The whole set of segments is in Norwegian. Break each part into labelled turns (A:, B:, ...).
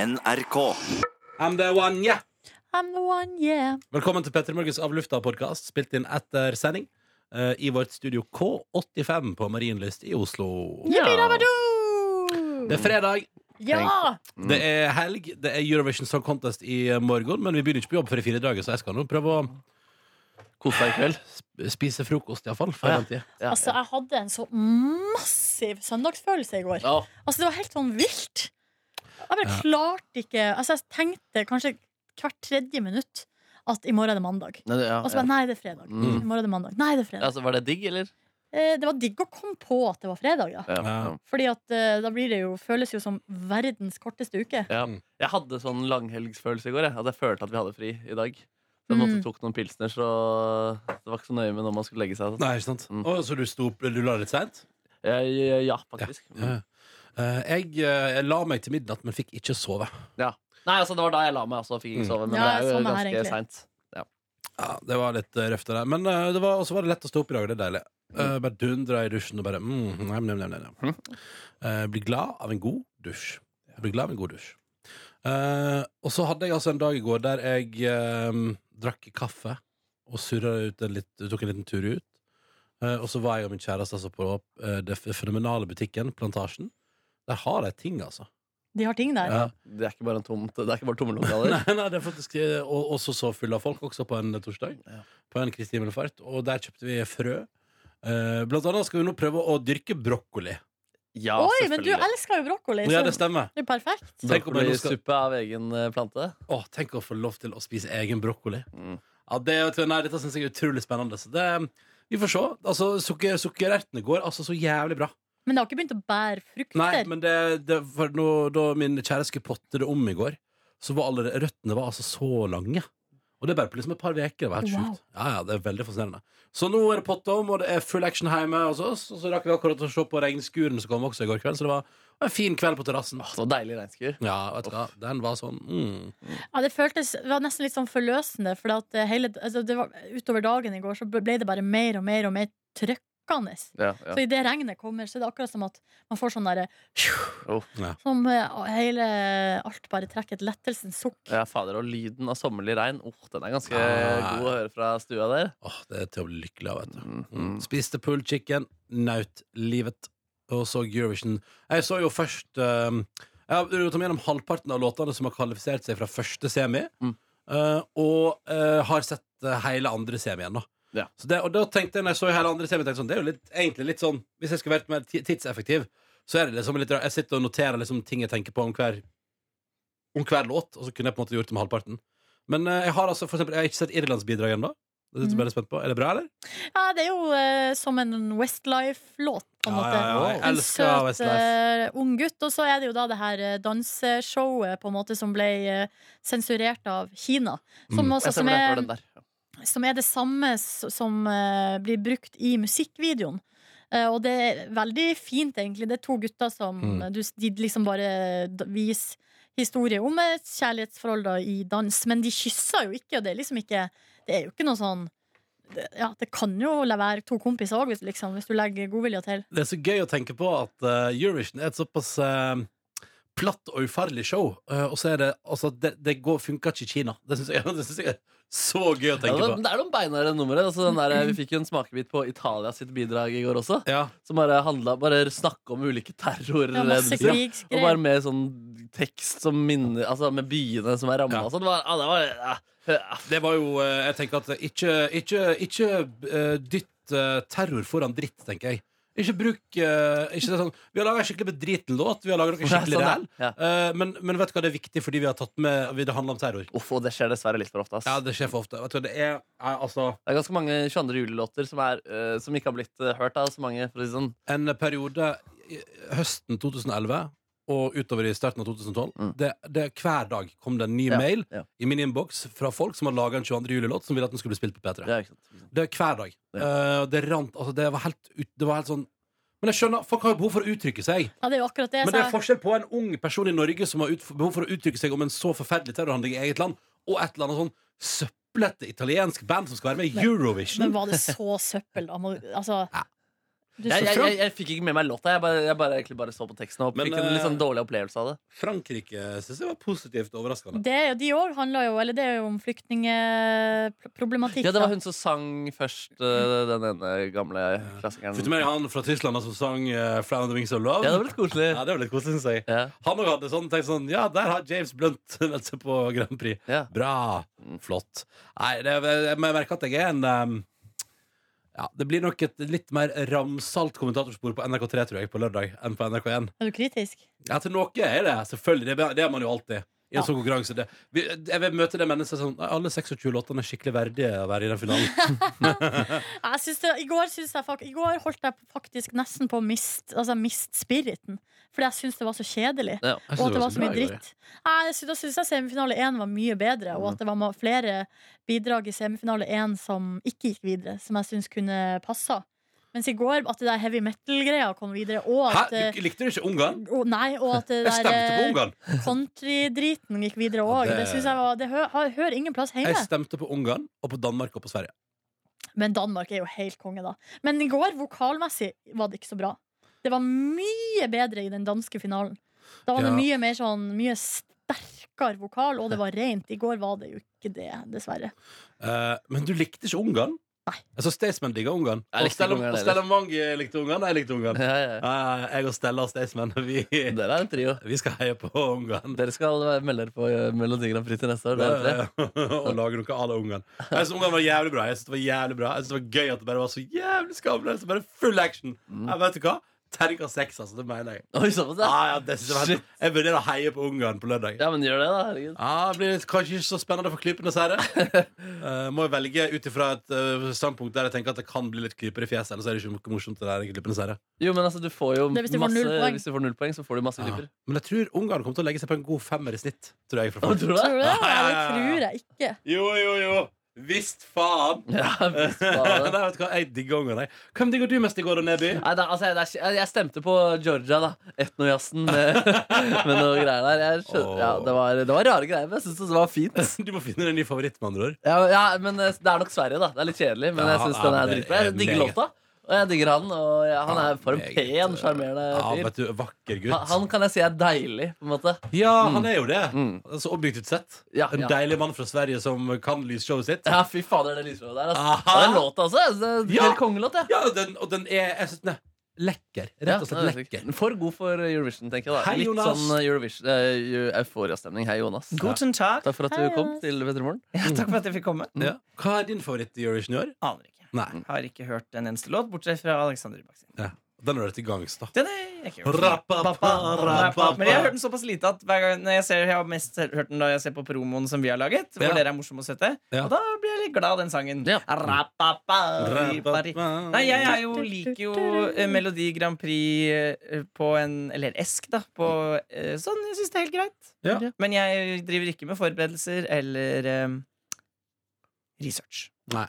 A: NRK.
B: I'm the one, yeah.
C: I'm the one, yeah.
B: Velkommen til Petter Morgens Av lufta-podkast, spilt inn etter sending eh, i vårt studio K85 på Marienlyst i Oslo. Det er fredag,
C: Ja!
B: det er helg, det er Eurovision Song Contest i morgen, men vi begynner ikke på jobb før i fire dager, så jeg skal nå prøve å
D: Kos deg i kveld.
B: sp- spise frokost, iallfall.
D: Ja.
B: Ja.
D: Ja.
C: Altså, jeg hadde en så massiv søndagsfølelse i går.
D: Ja.
C: Altså, det var helt sånn vilt. Jeg bare klarte ikke Altså, jeg tenkte kanskje hvert tredje minutt at i morgen er det mandag.
D: Nei, det- ja,
C: Og så
D: ja.
C: bare nei, det er fredag.
D: Mm.
C: I morgen er det mandag. Nei, det er fredag.
D: Altså, var det digg, eller?
C: Eh, det var digg å komme på at det var fredag, ja.
B: Ja.
C: Fordi at eh, da blir det jo, føles jo som verdens korteste uke.
D: Ja. Jeg hadde sånn langhelgsfølelse i går. Jeg. At jeg følte at vi hadde fri i dag. Så jeg måtte
C: Mm.
D: tok noen pilsner, så det var ikke så nøye med når man skulle legge seg. Altså.
B: Nei, ikke sant?
D: Mm.
B: Å, så du, sto opp, du la deg litt seint?
D: Jeg, ja, faktisk.
B: Ja. Eh, jeg, eh, jeg la meg til midnatt, men fikk ikke sove.
D: Nei, altså, det var da jeg la meg, altså. Fikk
B: Mm.
D: ikke sove. Men
C: Ja,
D: det er jo
C: sånn er det
D: ganske
C: egentlig.
D: seint.
B: Ja, det var litt eh, røft av deg. Men eh, det var, også var det lett å stå opp i dag. Det er deilig. Eh, bare dundra i dusjen og bare mm, nem, nem, nem, nem. nem. Eh, bli glad av en god dusj. Bli glad av en god dusj. Eh, og så hadde jeg altså en dag i går der jeg eh, drakk kaffe og surra ut en litt, tok en liten tur ut. Eh, og så var jeg og min kjæreste altså på eh, den fenomenale butikken Plantasjen. Der har de ting, altså.
C: De har ting der.
B: Ja.
D: Det er ikke bare en tomt, det er ikke bare tomme lokaler.
B: Nei, nei, det er faktisk eh, og, Også så full av folk Også på en torsdag
D: Ja.
B: På en Kristi Himmelfart Og der kjøpte vi frø Eh, Blant annet skal vi nå prøve å dyrke brokkoli
D: Ja,
C: Oi, men du
D: selvfølgelig.
C: elsker jo brokkoli!
B: Ja,
C: Så
B: det stemmer
C: det er perfekt.
B: Tenk om jeg nå skal-
D: Brokkoli-suppe av egen eh, plante.
B: Åh, tenk å få lov til å spise egen brokkoli
D: Mm.
B: Ja, det, nei, dette synes jeg er utrolig spennende Så det, vi får se Altså, sukker, sukkerertene går altså så jævlig bra
C: Men det har ikke begynt å bære frukter.
B: Nei, men det, det for nå, Da min kjære skulle potte det om i går Så var alle røttene var altså så lange Og det er bare på liksom et par veker Det var helt
C: Wow.
B: sjukt ja, ja, det er veldig fascinerende Så nå er det potte om, og det er full action hjemme hos oss Og så rakk vi akkurat å se på regnskuren som kom også i går kveld Så det var en fin kveld på terrassen
D: Åh, Så deilig regnskur.
B: Ja, vet du hva, den var sånn mm.
C: Ja, det føltes det var nesten litt sånn forløsende, for at eh, hele, altså det var, utover dagen i går så ble det bare mer og mer og mer trøkkende.
D: Ja,
C: Så idet regnet kommer, så er det akkurat som at man får sånn derre
D: Oh.
B: Ja.
C: Som eh, hele alt bare trekker et lettelsens sukk.
D: ja, fader, Og lyden av sommerlig regn, oh, den er ganske
B: Ah.
D: god å høre fra stua der.
B: Åh, det er til å bli lykkelig av, vet du mm.
D: Mm.
B: Spiste pulled chicken, naut livet og så Eurovision. Jeg så jo først eh, Jeg har gått gjennom halvparten av låtene som har kvalifisert seg fra første semi,
D: Mm.
B: eh, og eh, har sett eh, hele andre semien, da.
D: Ja.
B: Så det, og da tenkte jeg, når jeg så hele andre semi, tenkte jeg sånn, det er jo litt, egentlig litt sånn Hvis jeg skulle vært mer ti- tidseffektiv, så er det liksom litt rart. Jeg sitter og noterer liksom ting jeg tenker på om hver, om hver låt, og så kunne jeg på en måte gjort det med halvparten. Men eh, jeg har altså, for eksempel, jeg har ikke sett Irlands bidrag ennå. Det er jeg
C: Mm.
B: veldig spent på. Er det bra, eller?
C: Ja, det er jo eh, som en Westlife-låt, på en
B: Ja,
C: måte.
B: ja, ja, jeg
C: En
B: elsker
C: søt
B: Westlife.
C: eh, ung gutt. Og så er det jo da det her eh, danseshowet på en måte som ble eh, sensurert av Kina. Som,
B: Mm.
C: også,
D: Jeg ser
C: som
D: hvor det er
C: er
D: for den der.
C: som er det samme s- som eh, blir brukt i musikkvideoen. Eh, og det er veldig fint, egentlig. Det er to gutter som
B: Mm.
C: du, s- de liksom bare d- viser historie om et kjærlighetsforhold da, i dans, men de kysser jo ikke, og det er liksom ikke Det er jo ikke noe sånn det, ja, det kan jo la være to kompiser òg, hvis, liksom, hvis du legger godvilja til.
B: Det er så gøy å tenke på at eh, Eurovision er et såpass eh, platt og ufarlig show. eh, og så er det altså Det, det går, funker ikke i Kina. Det syns jeg, det synes jeg er så gøy å
D: Ja,
B: tenke på.
D: det, det er noen beinharde numre. Altså, den der, vi fikk jo en smakebit på Italia sitt bidrag i går også.
B: Ja,
D: Som bare handla bare snakke om ulike
C: Ja, masse
D: terrorhendelser. og bare
C: krigsgreier.
D: med sånn tekst som minner Altså med byene som er ramma
B: Ja.
D: og sånn. Det var- Ja, det var ja,
B: det var jo eh, Jeg tenker at ikke, ikke, ikke eh, dytt eh, terror foran dritt, tenker jeg. Ikke bruk eh, ikke det sånn, Vi har laga en skikkelig bedriten låt. Vi har laget noe skikkelig
D: Sånn,
B: ræl.
D: ja.
B: eh, men, men vet du hva, det er viktig fordi vi har tatt med Det handler om terror.
D: Uff, og det skjer dessverre litt for ofte. Ass.
B: Ja, det skjer for ofte. Vet du, hva, det er, er altså
D: Det er ganske mange 22. juli-låter som, er, eh, som ikke har blitt eh, hørt av så mange. For å si sånn.
B: en periode i- høsten 2011 og utover i starten av 2012
D: Mm.
B: det, det, Hver dag kom det en ny
D: Ja,
B: mail
D: ja.
B: i min innboks fra folk som hadde laga en 22. juli-låt som ville at den skulle bli spilt på P3.
D: Ja, ikke sant.
B: Det er hver dag.
D: Ja.
B: Eh, og det rant altså, det, var helt, ut- det var helt sånn Men jeg skjønner, folk har jo behov for å uttrykke seg.
C: Ja, det er jo akkurat det.
B: Men
C: så
B: det er
C: jeg-
B: forskjell på en ung person i Norge som har ut, behov for å uttrykke seg om en så forferdelig terrorhandling i eget land, og et eller annet sånn søplete italiensk band som skal være med i
C: Men-
B: Eurovision.
C: Men var det så søppel, da? Må- Altså, Du
D: Jeg,
C: synes-
D: jeg, jeg, jeg fikk ikke med meg låta. Jeg bare, jeg bare, egentlig bare så på teksten og
B: Men,
D: fikk en litt sånn
B: eh,
D: dårlig opplevelse av det.
B: Frankrike syns jeg var positivt overraskende.
C: Det, de òg handler jo Eller det er jo om flyktningeproblematikk.
D: Ja, det var
C: da.
D: hun som sang først, eh, den ene gamle klassikeren.
B: Fikk du med deg han fra Tyskland som sang eh, 'Fly on the Wings of Love'?
D: Ja, det var litt koselig.
B: Ja, det var litt koselig, synes jeg.
D: Ja.
B: Han òg hadde sånn, tenkt sånn Ja, der har James Blunt meldt seg på Grand Prix.
D: Ja.
B: Bra.
C: Mm.
B: Flott. Nei, det, jeg merker at jeg er en ehm, ja, Det blir nok et litt mer ramsalt kommentatorspor på NRK3 tror jeg, på lørdag enn på NRK1.
C: Er du kritisk?
B: Ja, til noe er det selvfølgelig. Det, det er man jo alltid. I en
C: Ja.
B: sånn konkurranse det. Vi, Jeg vil møte det mennesket sånn «Nei, Alle 26 låtene er skikkelig verdige å være i den finalen.
C: Ja, Jeg synes det, i, går synes jeg, fak- I går holdt jeg faktisk nesten på å miste altså, jeg miste spiriten. Fordi jeg syns det var så kjedelig.
D: Ja.
B: Jeg synes
C: Og at det var
B: så
C: så mye
B: bra i går,
C: dritt. Nei, jeg synes- Da syns jeg semifinale én var mye bedre, og at det var ma- flere bidrag i semifinale én som ikke gikk videre, som jeg syns kunne passa. Mens i går, at det der heavy metal-greia kom videre, og
B: Hæ?
C: at eh,
B: Du, likte du ikke Ungarn?
C: og, Nei, og at
B: Jeg
C: det der
B: stemte på
C: eh,
B: Ungarn.
C: country-driten gikk
B: Ja,
C: videre òg.
B: det-
C: Det, synes jeg var Det hø, har- hører ingen plass
B: Jeg
C: hjemme.
B: stemte på Ungarn og på Danmark og på Sverige.
C: Men Danmark er jo helt konge, da. Men i går, vokalmessig, var det ikke så bra. Det var mye bedre i den danske finalen. Da var det
B: Ja.
C: mye mer sånn Mye sterkere vokal, og det var rent. I går var det jo ikke det, dessverre.
B: Eh, men du likte ikke Ungarn?
C: Nei.
B: Altså, Staysman digga Ungarn.
D: Jeg
B: Og
D: likte
B: Stella,
D: ikke Ungarn
B: og Stella Mangi likte Ungarn. Jeg likte Ungarn.
D: Ja, ja.
B: Eh, jeg og Stella og Staysman, vi,
D: Dere er en trio.
B: vi skal heie på Ungarn.
D: Dere skal være- melde dere på eh, Melodi Grand Prix til neste år. Dere tre.
B: og lage noe à la Ungarn. Jeg synes Ungarn var jævlig bra. Jeg synes det var jævlig bra Jeg synes det var gøy at det bare var så jævlig skamløst. Bare full action.
D: Mm.
B: Jeg vet du hva? Terningkast seks, altså. Det mener jeg.
D: Oi, såpass,
B: Ja,
D: ja.
B: Ah. ja, det synes jeg, var helt- jeg vurderer å heie på Ungarn på lørdag.
D: ja, men gjør det, da. Herregud.
B: Ja, det blir kanskje ikke så spennende for klypene, sier jeg. Eh, må jeg velge ut ifra et eh, standpunkt der jeg tenker at det kan bli litt klyper i fjeset. Ellers er det ikke noe morsomt. Det der, klypene, sier jeg.
D: Jo, men altså, du får jo
C: Det er hvis du får
D: masse
C: null poeng.
D: Hvis du får null poeng, så får du masse
B: Ja.
D: klipper.
B: Men jeg tror Ungarn kommer til å legge seg på en god femmer i snitt. Tror jeg, fra
D: Hva
B: folk.
D: tror
C: Tror
D: du det?
C: du det?
B: Ja, ja,
C: Nei, det
B: ja, ja.
C: tror jeg ikke.
B: Jo, jo, jo! Visst faen!
D: Ja, visst
B: Nei,
D: faen.
B: vet du hva, Jeg digger Ungarn. jeg. Hvem digger du mest i går, da, Neby?
D: Nei, det, er- altså, jeg, det er, jeg stemte på Georgia, da. Etnojazzen med, med noe greier der. Jeg skjønner,
B: Åh.
D: ja, det, var, det var rare greier, men jeg syns det var fint.
B: Du må finne en ny favoritt, med andre ord.
D: Ja, ja, men eh, det er nok Sverige, da. Det er litt kjedelig, men jeg
B: Ja,
D: syns
B: ja,
D: den
B: men
D: er
B: det
D: dritbra.
B: er
D: Jeg digger
B: meget.
D: låta, og jeg digger han. Og ja, han er for en
B: meget, eh,
D: pen, sjarmerende
B: Ja,
D: fyr.
B: vet du, Vakker gutt.
D: Han, han kan jeg si er deilig, på en måte.
B: ja, han er jo det.
D: Mm.
B: Så objektivt sett.
D: Ja,
B: En
D: ja.
B: deilig mann fra Sverige som kan lysshowet sitt.
D: Ja, fy fader, det lysrøde der. Altså.
B: Aha.
D: Og den låta, altså. Det er
B: Ja.
D: Helt kongelåt, jeg.
B: Ja, og den, og den er jeg synes den er lekker.
D: Ja,
B: Rett og slett
D: den er syk.
B: lekker.
D: For god for Eurovision, tenker jeg. da
B: Hei,
D: Litt
B: Jonas.
D: sånn Eurovision uh, euforiastemning. Hei, Jonas.
A: Guten Tag.
D: Takk for at
C: Hei,
D: du kom
C: Jonas.
D: til Petremorgen.
A: Ja, takk for at jeg fikk komme.
B: Ja. Mm. Hva er din favoritt i Eurovision i år?
A: Aner ikke.
B: Nei,
D: Mm.
A: Har ikke hørt en eneste låt, bortsett fra Alexander Rybak sin.
B: ja. Den har du til gangs, da.
A: Den er ikke hørt.
B: Rapapapa.
A: Men jeg har hørt den såpass lite at hver gang når jeg, ser, jeg har mest hørt den da jeg ser på promoen som vi har laget. Hvor
B: Ja.
A: dere er morsomme og søte.
B: Ja.
A: Og da blir jeg litt glad av den sangen.
D: Ja.
A: Rapapari.
B: Rapapa.
A: Nei, jeg er jo, liker jo eh, Melodi Grand Prix eh, på en Eller Esk, da. På, eh, sånn, jeg syns det er helt greit.
B: Ja.
A: Men jeg driver ikke med forberedelser eller eh, research.
B: Nei.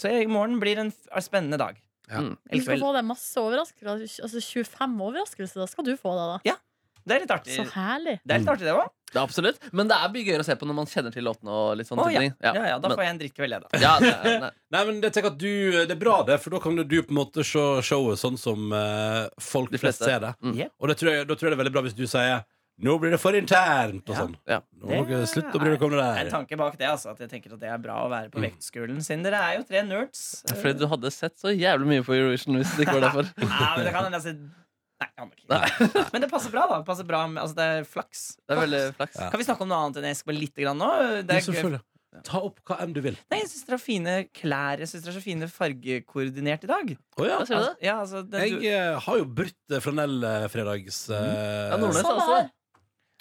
A: Så i morgen blir en f- spennende dag.
B: Ja.
D: Mm.
C: Du
A: Eller
C: skal
A: kveld.
C: få deg masse overraskelser. Altså 25 overraskelser, da skal du få deg, da.
A: Det er litt artig,
C: Så herlig.
A: det, er litt artig det òg.
D: Ja, absolutt. Men det er mye gøyere å se på når man kjenner til låtene. og litt sånn
A: Å,
D: type ting.
A: Ja, ja, da
D: men-
A: får jeg en drittkveld, jeg, da.
D: ja, det er, nei.
B: Nei, men jeg tenker at du, eh, Det er bra, det, for da kan jo du på en måte se showet sånn som eh, folk
D: De
B: flest
D: fleste.
B: ser det.
D: Mm.
A: Yep.
B: Og det tror jeg, da tror jeg det er veldig bra hvis du sier 'nå blir det for internt' og
A: Ja.
B: sånn.
D: Ja.
B: Nå må dere
A: Det
B: slutte å bry dere om det
A: Det er en
B: der.
A: tanke bak det, altså, at jeg tenker at det er bra å være på
B: Mm.
A: vektskolen, siden dere er jo tre nerds.
D: Fordi du hadde sett så jævlig mye på Eurovision hvis det ikke var derfor.
A: Nei, men det kan hende jeg sier- Nei, jeg aner ikke. Men det passer bra, da. Det, passer bra med, altså, det er flaks.
D: Det er veldig flaks.
B: Ja.
A: Kan vi snakke om noe annet enn Esk bare lite grann nå?
B: Ja,
A: Det er gøy.
B: selvfølgelig. Ta opp hva enn du vil.
A: Nei, jeg syns dere har fine klær. Jeg syns dere er så fine fargekoordinert i dag.
B: Å ja.
D: Hva sier du? da?
A: Ja, altså, det,
B: Jeg
A: du,
B: eh, har jo brutt eh, flanellfredags... eh,
D: Mm. Ja, Nordnes
C: Samme
D: også.
C: her.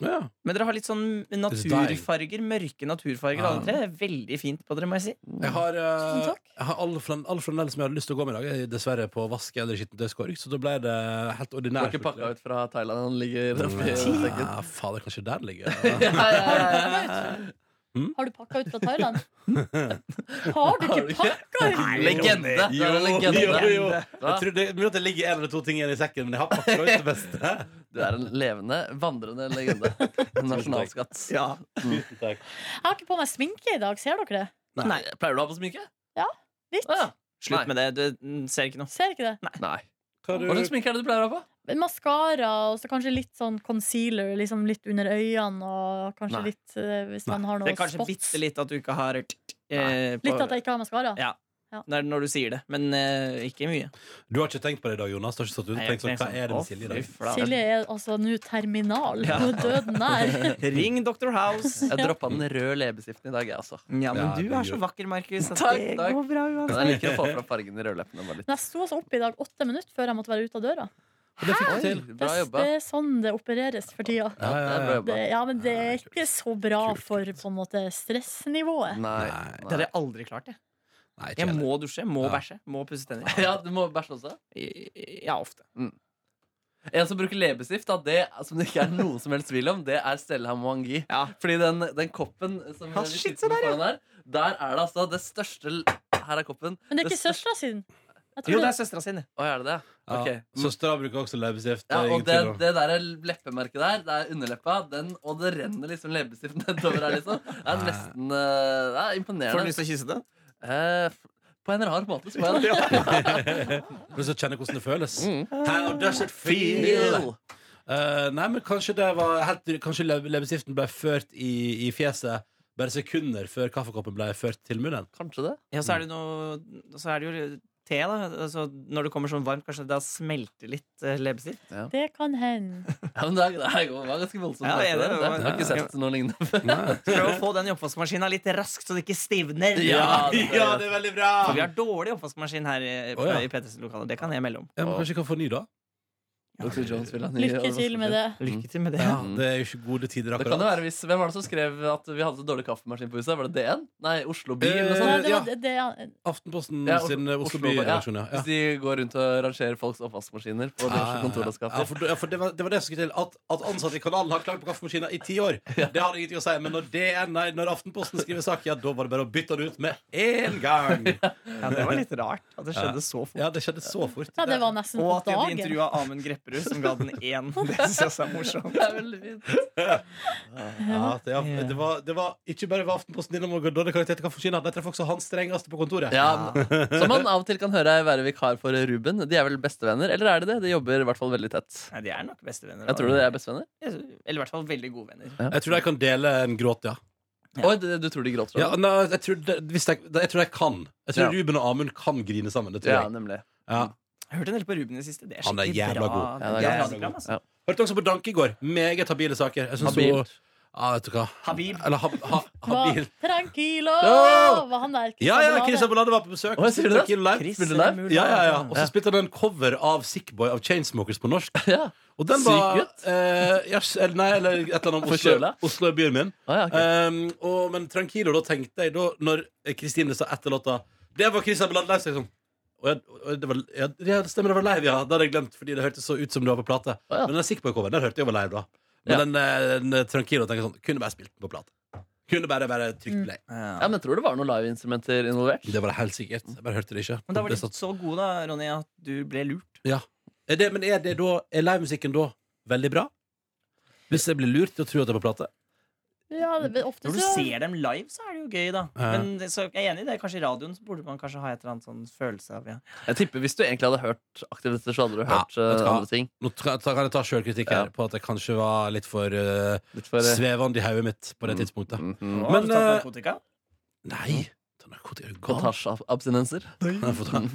B: ja.
A: men dere har litt sånn naturfarger, mørke naturfarger, alle tre. Veldig fint på dere, må jeg si.
B: Jeg har, eh,
C: Tusen takk.
B: jeg har all, flan, all flanell som jeg hadde lyst til å gå med i dag, er dessverre på vask eller skittentøyskorg, så da ble det helt
D: Du har
B: ordinær
D: ikke pakka ut fra Thailand? Han ligger oppi
B: sjokolade.
D: sekken.
B: Ja, fader, kanskje der det ligger
D: Ja, ja, ja, ja.
C: Har du pakka ut fra Thailand? Har du
D: Har du
C: ikke
D: ikke?
C: pakka ut?
D: Legende! Det er en
B: jo, jo,
D: legende.
B: jo.
D: Hva?
B: Jeg tror det, mulig at det ligger en eller to ting igjen i sekken, men jeg har pakka ut det beste.
D: Du er en levende, vandrende legende. En nasjonalskatt.
B: Tusen takk.
C: Jeg har ikke på meg sminke i dag, ser dere det?
D: Nei. Pleier du å ha på sminke?
C: Litt?
D: Å, ja.
A: Slutt med det. Du mm, ser ikke noe.
C: Ser ikke det?
D: Nei.
B: Hva du,
D: Hva slags sminke er det du pleier å ha på?
C: Maskara og så kanskje litt sånn concealer liksom litt under øynene. Og kanskje
D: Nei.
C: litt eh, hvis man har
A: Det
C: noe
A: er kanskje
C: spots.
A: bitte litt at du ikke har rørt eh, på-
C: Litt at jeg ikke har maskara.
A: Ja. Det er når du sier det, men eh, ikke mye.
B: du har ikke tenkt på det i dag, Jonas? Du har ikke satt ut og
A: Nei, jeg
B: tenkt sånn, Hva
A: tenker
B: er det med
A: sånn,
B: Silje i
A: å,
B: dag?
A: fy flate.
C: Silje er altså nå terminal.
A: Ja.
C: Hun er døden nær.
A: Ring Dr. House.
D: Jeg droppa den røde leppestiften i dag, jeg også.
A: Ja, men
B: Ja,
A: du
B: det
A: er så
B: gjør-
A: vakker, Markus. at
D: Takk,
A: det
D: takk.
A: går bra
D: Men
A: uansett.
D: jeg liker å få fram fargen i rødleppene. Bare litt.
C: Men jeg sto altså oppe i dag åtte minutter før jeg måtte være ute av døra.
B: Og det fikk du til.
D: Bra jobba.
C: Det er sånn det opereres for tida.
D: Ja, det er bra jobba.
C: Det, ja, men det er
B: Kult.
C: ikke så bra
B: Kult,
C: for
B: kult.
C: på en måte stressnivået.
D: Nei.
B: Nei.
A: Det hadde jeg aldri klart. Jeg,
B: Nei, ikke
A: jeg
B: heller.
A: må dusje, må
B: Ja.
A: bæsje, må pusse tenner.
D: Ja, du må bæsje også.
A: I- Ja, ofte.
D: En som bruker leppestift, da, det som det ikke er noen som helst tvil om, det er Stella Mwangi.
A: Ja.
D: Fordi den, den koppen som
A: Ah,
D: vi
A: shit,
D: sitter
A: se der,
D: foran her, der er det altså det største l- Her er koppen.
C: Men det er ikke
D: største-
C: søstera sin. Jeg tror
A: Jo, det
C: det-
A: er søstera sin. det.
D: Å, er det det?
B: Ja.
D: Ok.
B: Søstera bruker også leppestift.
D: Ja,
B: det er
D: og
B: ingen
D: det,
B: tvil om.
D: det der leppemerket der, det er underleppa, den, og det renner liksom leppestift nedover her, liksom. Det er
B: Nei.
D: nesten eh, Det er
A: Får du
D: imponerende.
A: lyst til å kysse den?
D: Eh, f- på en rar måte, så må jeg det.
B: Men så kjenner jeg hvordan det føles.
D: Mm.
B: How does it feel?
D: Feel.
B: Eh, nei, men kanskje det var helt, Kanskje le- leppestiften ble ført i, i fjeset bare sekunder før kaffekoppen ble ført til munnen.
D: Kanskje det.
A: Ja, så er det noe Så er det jo te, da. Altså, når det kommer sånn varmt, kanskje det da smelter litt eh, leppestift.
C: Det kan hende.
D: Ja, men det, er- det er- det var ganske voldsomt.
A: Ja, det er det.
D: der. Jeg har ikke sett noe lignende før.
B: Nei.
A: Prøv å få den i oppvaskmaskina litt raskt, så det ikke stivner.
D: Ja, det-
A: Ja, det er veldig bra For Vi har dårlig oppvaskmaskin her i,
B: Å, ja.
A: i Petters lokaler. Det kan jeg melde om.
B: Ja, men kanskje jeg kan få ny, da?
D: Dr. Jones vil ha nye-
C: Lykke
A: altså,
C: til med det.
A: Lykke til med det.
B: Ja,
D: Mm.
B: Det er jo ikke gode tider
D: Det kan
B: akkurat.
D: jo være hvis, Hvem var det som skrev at vi hadde så dårlig kaffemaskin på huset? Var det DN? Nei, Oslo By? Eller noe sånt.
C: Nei, det
B: ja.
C: var det, det, ja.
B: Aftenposten
D: Ja,
B: Mm. sin eh,
D: Os-
B: Oslo
D: Oslo-
B: By-redaksjon, ja. ja.
D: Hvis de går rundt og rangerer folks oppvaskmaskiner
B: Ja,
D: på
B: ja,
D: diverse
B: ja.
D: kontorlandskaper.
B: Ja, for, ja, for det, var, det var det som skulle til. At, at ansatte i kanalen har klagd på kaffemaskiner i ti år. Det har ingenting å si. Men når, det er, nei, når Aftenposten skriver sak, ja, da var det bare å bytte den ut med én gang.
A: Ja, det var litt rart at det skjedde så fort.
B: Ja, det skjedde så fort.
C: ja, det var nesten
A: Og
C: på
A: at de hadde
C: dagen.
A: intervjua Amund Grepperud, som ga den én. Det synes jeg er morsomt.
D: Det er veldig fint.
B: Ja, det, ja, det, var, det var ikke bare var Aftenposten innom og ga dårlig karakter til kaffemaskiner. De traff også han strengeste på kontoret.
D: Ja, som man av og til kan høre er være vikar for Ruben. De er vel bestevenner? Eller er de det? De jobber i hvert fall veldig tett.
A: Nei, de er nok bestevenner.
D: Jeg tror de er bestevenner.
A: Eller i hvert fall veldig gode venner.
B: Jeg tror de kan dele en gråt, ja.
A: Ja.
D: Oi, du, du tror de gråter?
B: ja
D: over det?
B: nei, jeg, tror de, hvis de, jeg tror de kan. Jeg tror
D: Ja.
B: Ruben og Amund kan grine sammen. Det tror
D: ja,
B: jeg.
D: nemlig.
B: Ja.
A: Jeg hørte en del på Ruben i det siste. Det er
B: Han er
A: skikkelig
B: jævla
A: bra.
B: god.
D: Ja, det er
A: Det er
D: jævla
A: radioprogram,
D: god.
A: altså.
D: Ja.
B: Hørte også på Danke i går. Meget habile saker. Jeg synes hun-
D: Habilt.
B: Ja, vet du hva.
A: Habil.
B: Eller hab, ha, habil.
C: Var, tranquilo!
B: Ja!
C: Var han der?
B: Ja, ja, Chris
C: Christian Bolade?
B: Abelade var på besøk.
D: Å, sier du det?
B: Spilte live.
A: Chris
D: Spiller live?
A: Mulder.
B: Ja, ja, ja. Og så spilte han en cover av Sickboy av Chainsmokers på norsk.
D: Ja.
B: Og den
D: Syk
B: var
D: gutt.
B: eh, yes, eller, Nei, eller et eller annet om Oslo,
D: Forkjøla.
B: Oslo er byen min.
D: Ah, ja, ok.
B: Um, og, men Tranquilo, da tenkte jeg da Når Kristine sa etter låta Det var Chris Abelade live, så jeg sånn og jeg, og det var, ja, ja, det stemmer, det var live, ja. Det hadde jeg glemt, fordi det hørtes så ut som det var på plate.
D: Å, ja.
B: Men den Sickboy-coveren, der hørte jeg var live, da. Men
D: Ja.
B: den, eh, den Tranquilo tenker jeg sånn Kunne bare spilt den på plate. Kunne bare, bare trykt
D: Mm.
B: play.
D: ja, men tror du det var noen liveinstrumenter involvert?
B: Det var det helt sikkert. Jeg bare hørte det ikke.
A: Men da var
B: Det
A: de
B: satt-
A: så gode, da, Ronny, at du ble lurt.
B: Ja. Er det, men er, det da, er livemusikken da veldig bra? Hvis jeg blir lurt til å tro at det er på plate?
C: Ja, det- ofte
A: Når du
C: så
A: ser dem live, så er det jo gøy, da.
B: Ja.
A: Men det- så jeg er enig i det. Kanskje i radioen så burde man kanskje ha et eller annet sånn følelse av ja.
D: Jeg tipper Hvis du egentlig hadde hørt aktivt etter, så hadde du
B: Ja,
D: hørt eh,
B: vet du hva?
D: andre ting.
B: Nå tra- ta- kan jeg ta sjølkritikk
D: Ja.
B: her på at jeg kanskje var litt for eh,
D: Litt for, eh,
B: svevende i hodet mitt på det
D: Mm.
B: tidspunktet.
D: mhm.
A: Å, har du
B: Men, eh,
A: tatt narkotika?
B: Nei! Ta narkotika er jo gal.
D: Plantasjeabstinenser.
B: Jeg har fått ha- ha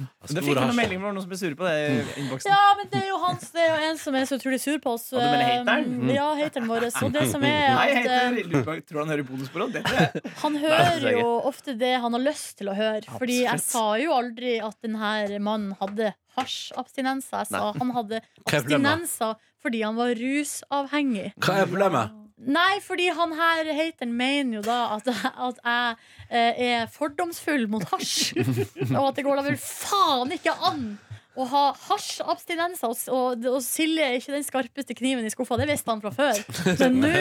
B: store
A: Det fikk vi noen
B: hasj. Mm.
A: meldinger om noen som ble sure på det i innboksen.
C: Ja, men det er jo hans. Det er jo en som er så utrolig sur på oss.
A: Og liksom. du mener hateren? Mm.
C: Um, Ja, hateren vår. Og det som er
A: Nei, jeg
C: at
A: heter
C: eh,
A: Lilleberg. Tror han hører bonusbordet? Det tror jeg.
C: han
D: Nei, det
C: hører
D: er
C: jo ofte det han har lyst til å høre. Fordi jeg
A: Absolutt.
C: sa jo aldri at denne mannen hadde hasjabstinenser. Jeg sa han hadde
B: Hva er problemet?
C: abstinenser fordi han var rusavhengig.
B: Hva er problemet?
C: Nei, fordi han her hateren mener jo da at, at jeg eh, er fordomsfull mot hasj. og at det går da vel faen ikke an å ha hasjabstinenser. Og, og, og Silje er ikke den skarpeste kniven i skuffa, det visste han fra før. Men nå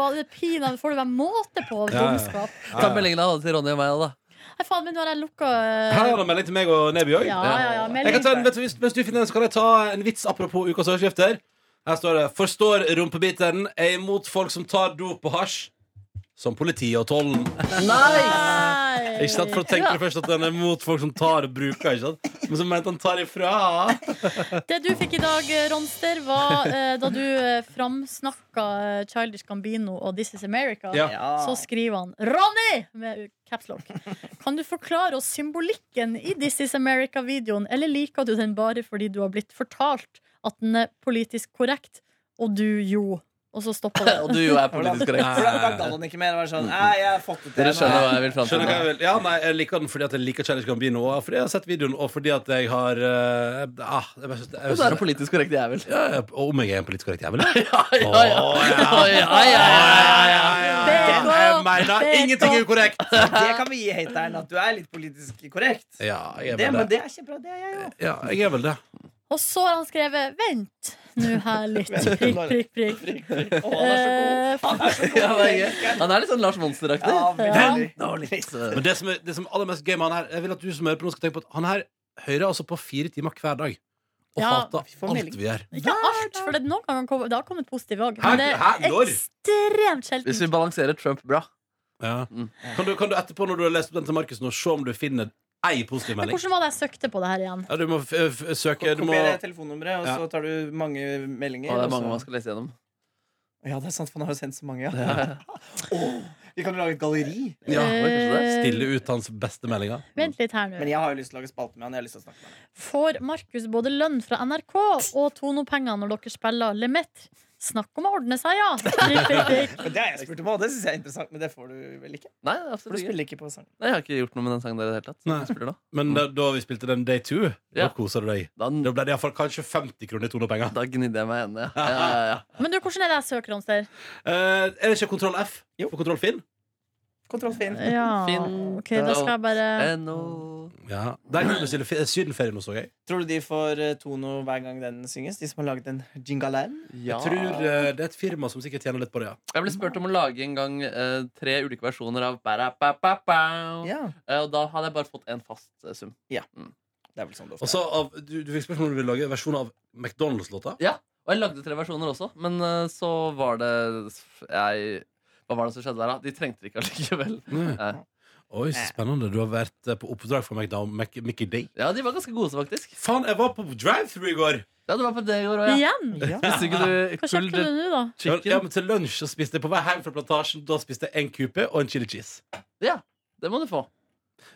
C: var det pinadø får det være måte på
B: Ja, ja.
C: dumskap.
D: Ta meldingen han hadde til Ronny og meg òg, da.
C: Nei, faen, men nå har jeg lukka
B: Her
C: eh,
B: er det melding til meg og Neby òg.
C: Ja, ja,
B: Jeg
C: ja.
B: kan
C: Melding.
B: ta en, vet du, hvis, hvis du finner den, så kan jeg ta en vits apropos ukas overskrifter. Her står det 'Forstår rumpebiteren.
D: Eh.
B: Er imot folk som tar dop og hasj.' Som politiet og tollen.
D: Nei!
C: Nei.
B: Ikke sant? For å tenke først at den er mot folk som tar og bruker, ikke sant? men så mente han tar ifra.
C: Det du fikk i dag, eh, Ronster, var eh, da du eh, framsnakka eh, Childish Gambino og This Is America.
B: Ja.
C: Så skriver han 'Ronny!' med caps lock. Kan du forklare oss symbolikken i This Is America-videoen, eller liker du den bare fordi du har blitt fortalt at den er politisk korrekt, og du jo Og så stopper det.
D: Og du jo er politisk korrekt.
A: For da da gadd han ikke mer. Var sånn, Nei, jeg har fått det til
D: Dere
A: nå.
D: skjønner hva jeg vil fram til.
B: Skjønner hva
D: nå.
B: jeg vil? Ja, nei, jeg liker den fordi at jeg liker Challenge Gambino, og fordi jeg har sett videoen, og fordi at jeg har eh, ah, jeg, bare synes-
D: Og
B: jeg,
D: så er
B: jeg,
D: det politisk korrekt jævel.
B: ja, ja, om jeg er en politisk korrekt jævel? ja.
D: Ja, ja, ja. Ja, ja, ja, ja, ja.
B: Den jeg mener
C: Det er
B: ingenting er korrekt!
A: Det kan vi gi hateren, at du er litt politisk korrekt.
B: Ja, jeg
A: Det,
B: er vel
A: men
B: det.
A: det er kjempebra. Det er jeg òg.
B: Ja, jeg er vel det.
C: Og så har han skrevet 'Vent nå her litt'. Prikk, prikk, prikk. Eh,
D: Ja, det er gøy. Han er litt sånn Lars Monster-aktig. Nå litt, eh,
B: Men det som er, det som er aller mest gøy med han her Jeg vil at du som hører på nå skal tenke på at han her hører altså på fire timer hver dag. Og
C: Ja,
B: hater
A: vi får melding.
B: alt vi gjør.
C: Ikke alt, for det, noen ganger kom, det har kommet positive òg.
B: Hæ?
C: Men det
B: Hæ?
C: er
B: Når?
C: ekstremt
D: Hvis
C: sjelden.
D: vi balanserer Trump bra.
B: Ja.
D: Mm.
B: Kan, du, kan du etterpå, når du har lest opp den til Markus, nå, se om du finner ei positiv
C: Men
B: melding?
C: hvordan var det jeg søkte på det her igjen?
B: Ja, du må f eh, f søke du må,
A: Kopier telefonnummeret, og
B: Ja.
A: så tar du mange meldinger.
D: Og det er
A: og så-
D: mange man skal lese gjennom.
A: Ja, det er sant, for han har jo sendt så mange. Ja. Åh, vi kan jo lage et galleri.
B: Ja,
D: det er kanskje det.
C: Eh,
B: Stille ut hans beste meldinger.
C: Vent litt her
A: Men
C: nå.
A: jeg har jo lyst til å lage spalte med han. Jeg har lyst til å snakke med han
C: Får Markus både lønn fra NRK og Tono-penger når dere spiller Lemet? Snakk om å ordne seg, ja! Prikk, prikk, prikk.
A: Men Det har jeg spurt om, og det syns jeg er interessant, men det får du vel ikke?
D: Nei, det er
A: For du
D: absolutt ikke.
A: spiller ikke på sang.
D: Nei, jeg har ikke gjort noe med den sangen der i det hele tatt.
B: Nei.
D: Jeg spiller nå.
B: Men da, da vi spilte den Day 2, da
D: Ja.
B: kosa du deg.
D: Da,
B: Da ble det iallfall kanskje 50 kroner i tonepenger.
D: da gnidde jeg meg i hendene. Ja. Ja, ja, ja.
C: Men du, hvordan er det jeg søker, Ronster?
B: Eh, er det ikke kontroll F?
A: Jo.
B: For kontroll Finn?
A: Kontroll Finn.
C: Ja,
D: Ah, Finn,
C: ok, da skal jeg bare
D: Eh, nå-
B: Ja. Der kan du bestille fe- sydenferie nå, så jeg.
A: Tror du de får eh, tono hver gang den synges? De som har laget den jingalen?
D: Ja.
B: Tror eh, det er et firma som sikkert tjener litt på det, ja.
D: Jeg ble spurt om å lage en gang eh, tre ulike versjoner av Ba-ra-ba-ba-ba.
A: Ja.
D: Eh, Og da hadde jeg bare fått en fast eh, sum.
A: Det er vel sånn det
B: Og
A: ofte
B: så
A: er.
B: av, du, du fikk spørsmål om du ville lage en versjon av McDonald's-låta.
D: Og jeg lagde tre versjoner også, men eh, så var det jeg, Hva var det som skjedde der, da? De trengte det ikke allikevel. Eh,
B: Oi, så spennende. Du har vært eh, på oppdrag for McDonald's, Mac, Mickey Day.
D: Ja, de var ganske gode, faktisk.
B: Faen, jeg var på drive-thru i går!
D: Ja, det var på det i går òg, ja.
C: Igjen?
A: Ja.
D: Spiste ikke du
C: Hva
D: pulled
C: kjøpte du nå, da?
B: Ja,
D: chicken?
B: ja, men til lunsj så spiste jeg på vei hjem fra plantasjen. Da spiste jeg en kupe og en chili cheese.
D: Det må du få.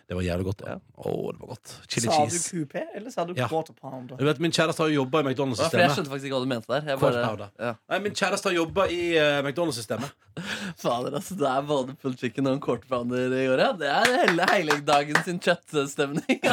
B: Det var jævlig godt. da
D: Ja.
B: Å, det var godt. Chili
A: Sa du
B: cheese.
A: coupé, eller sa du
B: Ja.
A: quarter pound?
B: Du vet, Min kjæreste har jobba i
D: Ja, for jeg
B: McDonald's-systemet.
D: skjønte faktisk ikke hva du mente der. Jeg
B: Kort
D: bare,
B: powder.
D: ja.
B: Nei, Min kjæreste har jobbet i eh, McDonald's-systemet.
D: Fader, altså, det er både pulled chicken og en quarter pounder i år, ja. Det er hele heiligdagen sin kjøttstemning.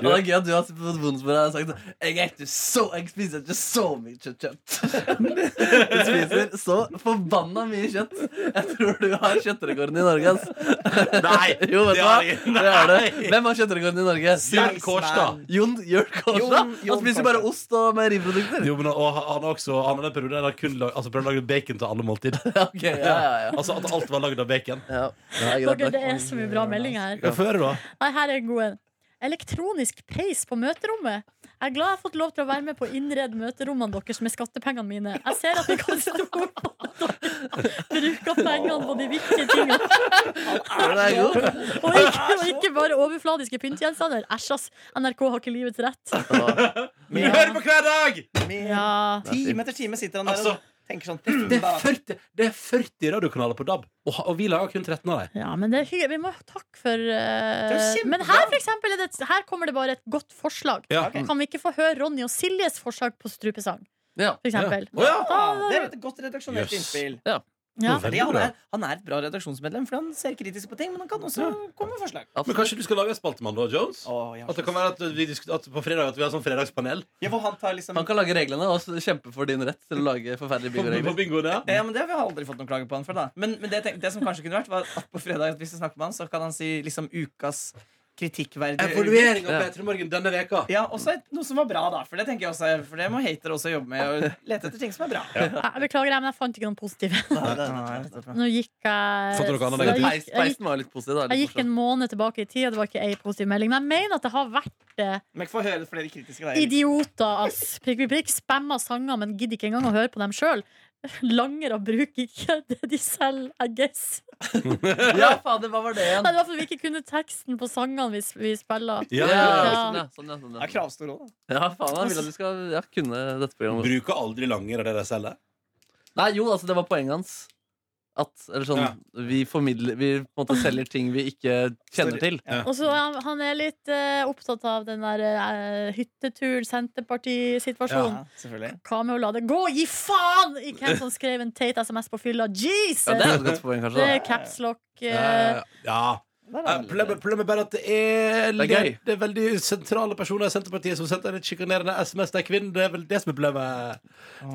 D: Altså. Og det er gøy at du har fått bonusbordet og sagt sånn, jeg, er ikke så, jeg spiser ikke så mye kjøtt. kjøtt. Du spiser så forbanna mye kjøtt. Jeg tror du har kjøttrekorden i Norge, ass.
B: Nei!
D: Jo,
B: det
D: vet du hva?
B: har jeg ikke.
D: Det har du. Hvem har kjøttrekorden i Norge?
B: Bjørn Kårstad.
D: Jon Jørn Kårstad.
A: Jon- Jon
D: Han spiser bare
A: Kårstad.
D: ost og meieriprodukter.
B: Jo, men og han han har også Han har den perioden der han kun lag, altså, prøvde å lage bacon til alle måltid.
D: Ok, ja, ja, ja.
B: Altså at alt var lagd av bacon.
D: ja.
C: Dere, det er så mye bra meldinger her.
B: Hva får jeg da?
C: Nei, her er en god en. Elektronisk peis på møterommet. Jeg er glad jeg har fått lov til å være med på å innrede møterommene deres med skattepengene mine. Jeg ser at vi kan stå på at dere bruker pengene på de viktige tingene.
D: Den er god.
C: Og ikke, og ikke bare overfladiske pyntegjenstander. Æsj, ass. NRK har ikke livets rett.
B: Men vi hører på hver dag!
A: Med
C: Ja.
A: time etter time sitter han der
B: Altså,
A: og tenker sånn
B: Det
A: "Hm,
B: er
A: da."
B: 40, det er 40 radiokanaler på DAB, og, ha- og vi lager kun 13 av dem.
C: Ja, men det er hyggelig. Vi må takke for eh,
A: Det er kjempebra.
C: Men her for eksempel, er det, et- her kommer det bare et godt forslag.
B: Ja.
A: Ok.
C: Kan vi ikke få høre Ronny og Siljes forslag på strupesang,
D: Ja.
C: for eksempel?
B: Å ja!
A: Ah, Det er et godt redaksjonelt
B: Jøss.
A: innspill.
C: Ja.
B: Veldig
A: Fordi han,
B: bra.
A: er, han er et bra redaksjonsmedlem, for han ser kritisk på ting, men han kan også komme med forslag.
B: Men kanskje du skal lage en spaltemann, da, Jones?
A: Å, ja.
B: At det kan være at vi, diskut- at på fredag at vi har sånn fredagspanel
A: Ja, hvor han tar liksom
D: Han kan lage reglene og s- kjempe for din rett til å lage forferdelige
B: på, på
D: bingoregler.
B: bingoen. Ja.
A: ja, men Det har vi aldri fått noen klager på han for. da Men, men det, jeg tenkte, det som kanskje kunne vært, var at på fredag hvis jeg snakker med han, så kan han si liksom ukas kritikkverdige øyeblikk.
B: Evaluering av P3 Morgen denne veka.
A: Ja, og så et- noe som var bra, da. For det tenker jeg også For det må hatere også jobbe med. Og lete etter ting som er bra.
C: Jeg beklager, jeg, men jeg fant ikke noen positive. Nå gikk jeg
B: Fant du noe annet
C: jeg
B: negativt?
C: gikk,
D: Peis-
C: jeg, gikk,
D: Peisen var litt positiv. Da,
C: jeg
D: litt
C: gikk en måned tilbake i tid, og det var ikke ei positiv melding. Men jeg mener at det har vært eh,
A: Men få høre flere kritiske der.
C: idioter, ass. Prikk, prikk, prikk. Spamma sanger, men gidder ikke engang å høre på dem sjøl. Langere bruker ikke det de selger, I guess.
D: Ja, fader, hva var det igjen?
C: Nei, det var fordi vi ikke kunne teksten på sangene vi, s- vi spiller.
B: Ja,
D: ja,
B: ja, ja.
D: sånn, ja, sånn, ja, sånn,
A: Det
D: ja.
A: er kravstor òg, da.
D: ja faen, jeg vil at du skal ja, kunne dette programmet.
B: Bruker aldri langer av det de selger.
D: Nei, jo, altså, det var poenget hans. At, eller sånn, Vi formidler Vi på en måte selger ting vi ikke kjenner til.
B: Ja.
C: Og så er han- han er litt eh, opptatt av den der eh, hyttetur, Senterparti-situasjonen.
A: Ja, selvfølgelig.
C: Hva med å la det gå? Gi faen i hvem som skrev en teit SMS på fylla! Jesus!
D: Ja, det er et godt poeng, kanskje.
C: Det
D: Da.
C: er caps lock. eh,
B: Eh, ja.
A: Der
B: Eh,
A: er det
B: Problemet problemet er bare at det er,
D: Det er gøy.
B: det er veldig sentrale personer i Senterpartiet som sendte litt sjikanerende SMS til kvinner. Det er vel det som er problemet
A: litt-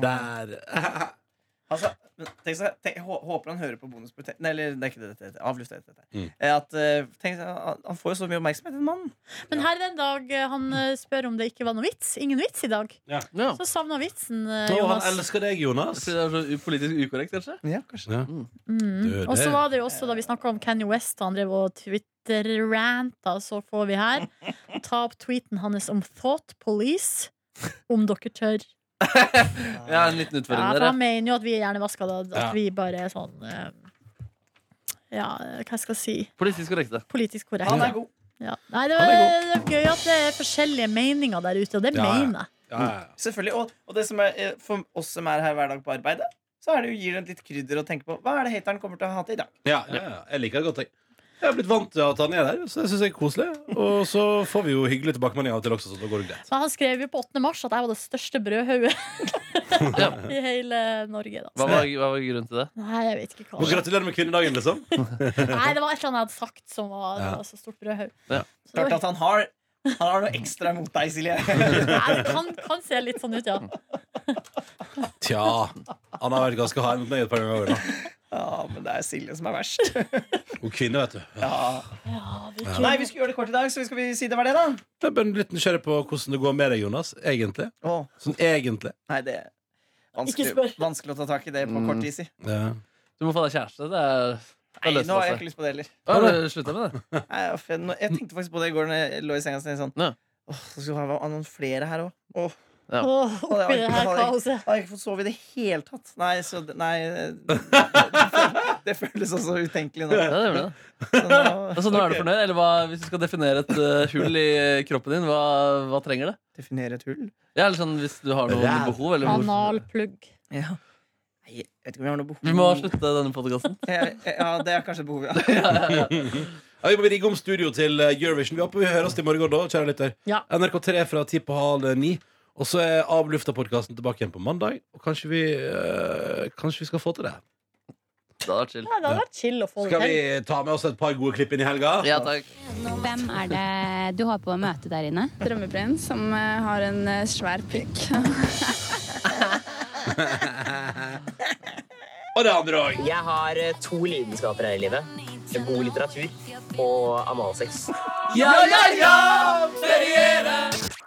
B: der.
A: Altså, men tenk seg, tenk, hå- håper han hører på bonusprosjektet Nei, eller det er ikke det dette heter. Avlyst det dette.
B: Mm.
A: Eh, At, eh, tenk seg, han- han får jo så mye oppmerksomhet, den mannen.
C: Men her er en dag eh, han eh, spør om det ikke var noe vits. Ingen vits i dag.
D: Ja.
C: Så savna vitsen, eh,
B: Å, han
C: Jonas.
B: elsker deg, Jonas.
D: Fordi det er så u- politisk ukorrekt, kanskje?
A: Ja, kanskje
B: Ja.
C: Mm.
B: Du,
C: Og så
B: det-
C: var det jo også da vi snakka om Kanye West, han drev og Twitter-ranta, så får vi her ta opp tweeten hans om Thought Police. Om dere tør.
D: Ja, en liten
C: Ja,
D: utfordring
C: for
D: der.
C: han mener jo at vi er hjernevaska, da. At
B: Ja.
C: vi bare er sånn eh, Ja, hva skal jeg si?
D: ja. Politisk korrekte.
C: Politisk korrekte.
A: Han er god.
C: Ja. Nei, det
B: Han
C: var,
B: er
C: det var gøy at det er forskjellige meninger der ute, og det
B: Ja, ja.
C: mener jeg.
B: Ja, ja, ja.
A: Selvfølgelig. Og, og det som er, eh, for oss som er her hver dag på arbeidet, så er det jo, gir det litt krydder å tenke på. Hva er det hateren kommer til å hate i dag?
B: Ja, ja, ja. jeg liker det godt, jeg. Jeg har blitt vant til at han er der, så jeg synes det er koselig. Og så får vi jo hyggelig tilbakemelding av og til også, så da går det greit.
C: Så han skrev jo på 8. mars at jeg var det største brødhauget
D: Ja.
C: i hele Norge. Da.
D: Hva, var, hva var grunnen til det?
C: Nei, jeg vet ikke hva.
B: Og
C: det var.
B: gratulerer med kvinnedagen, liksom.
C: Nei, det var et eller annet jeg hadde sagt som var,
B: Ja.
C: var så stort brødhaug.
D: Ja.
C: Så det
A: Klart
C: var-
A: at han har, han har noe ekstra mot deg, Silje.
C: Nei, det kan, kan se litt sånn ut, ja.
B: Tja. Han har vært ganske hard mot meg et par ganger. da.
A: Ja, men det er Silje som er verst.
B: Og kvinne, vet du.
A: Ja.
C: ja vi
A: Nei, vi skulle gjøre det kort i dag, så skal vi si det var det, da.
B: Jeg er bare litt nysgjerrig på hvordan det går med deg, Jonas. Egentlig.
A: Å,
B: Sånn egentlig.
A: nei, det er
C: Ikke spør.
A: vanskelig, vanskelig å ta tak i det på kort tid, si.
B: Ja.
D: Du må få deg kjæreste. Det er, Mm. det
A: Nei,
D: er løst altså.
A: nå har
D: for
A: jeg
D: seg.
A: ikke lyst på det heller.
D: Har du slutta med det?
A: Nei, uff, jeg, nå- jeg tenkte faktisk på det i går Når jeg lå i senga. Så tenkte jeg sånn,
D: Ja.
A: Åh, så skulle jeg ha noen flere her òg. Åh,
C: Åh, oppi det her kaoset.
A: har jeg ikke fått sove i det hele tatt? Nei, så det- Nei. eh, Det føles også
D: Ja,
A: utenkelig nå.
D: det gjør det.
A: Så nå
D: Altså, nå er du fornøyd? Eller hva, hvis du skal definere et eh, hull i kroppen din, hva, hva trenger det?
A: definere et hull.
D: Ja, eller sånn hvis du har noe
B: Ræv.
D: behov. Eller hvor-
C: Analplugg.
A: Ja. Nei, Jeg vet ikke om jeg har noe behov
D: Vi må slutte denne podkasten.
A: Jeg- jeg- Ja, det er kanskje et behov, ja.
B: Ja, vi må rigge om studio til eh, Eurovision. Vi, håper vi høres til morgen da, kjære lytter.
C: Ja.
B: NRK3 fra ti på halv ni. Og så er avlufta podkasten tilbake igjen på mandag. Og kanskje vi, eh, kanskje vi skal få til det.
D: Det hadde vært chill.
C: Nei, det hadde vært chill å få det
B: Skal
C: til.
B: vi ta med oss et par gode klipp inn i helga?
D: Ja, takk.
E: Hvem er det du har på å møte der inne?
F: Drømmeprins som eh, har en eh, svær pikk.
B: Og det andre òg.
G: Jeg har eh, to lidenskaper her i livet. God litteratur og analsex.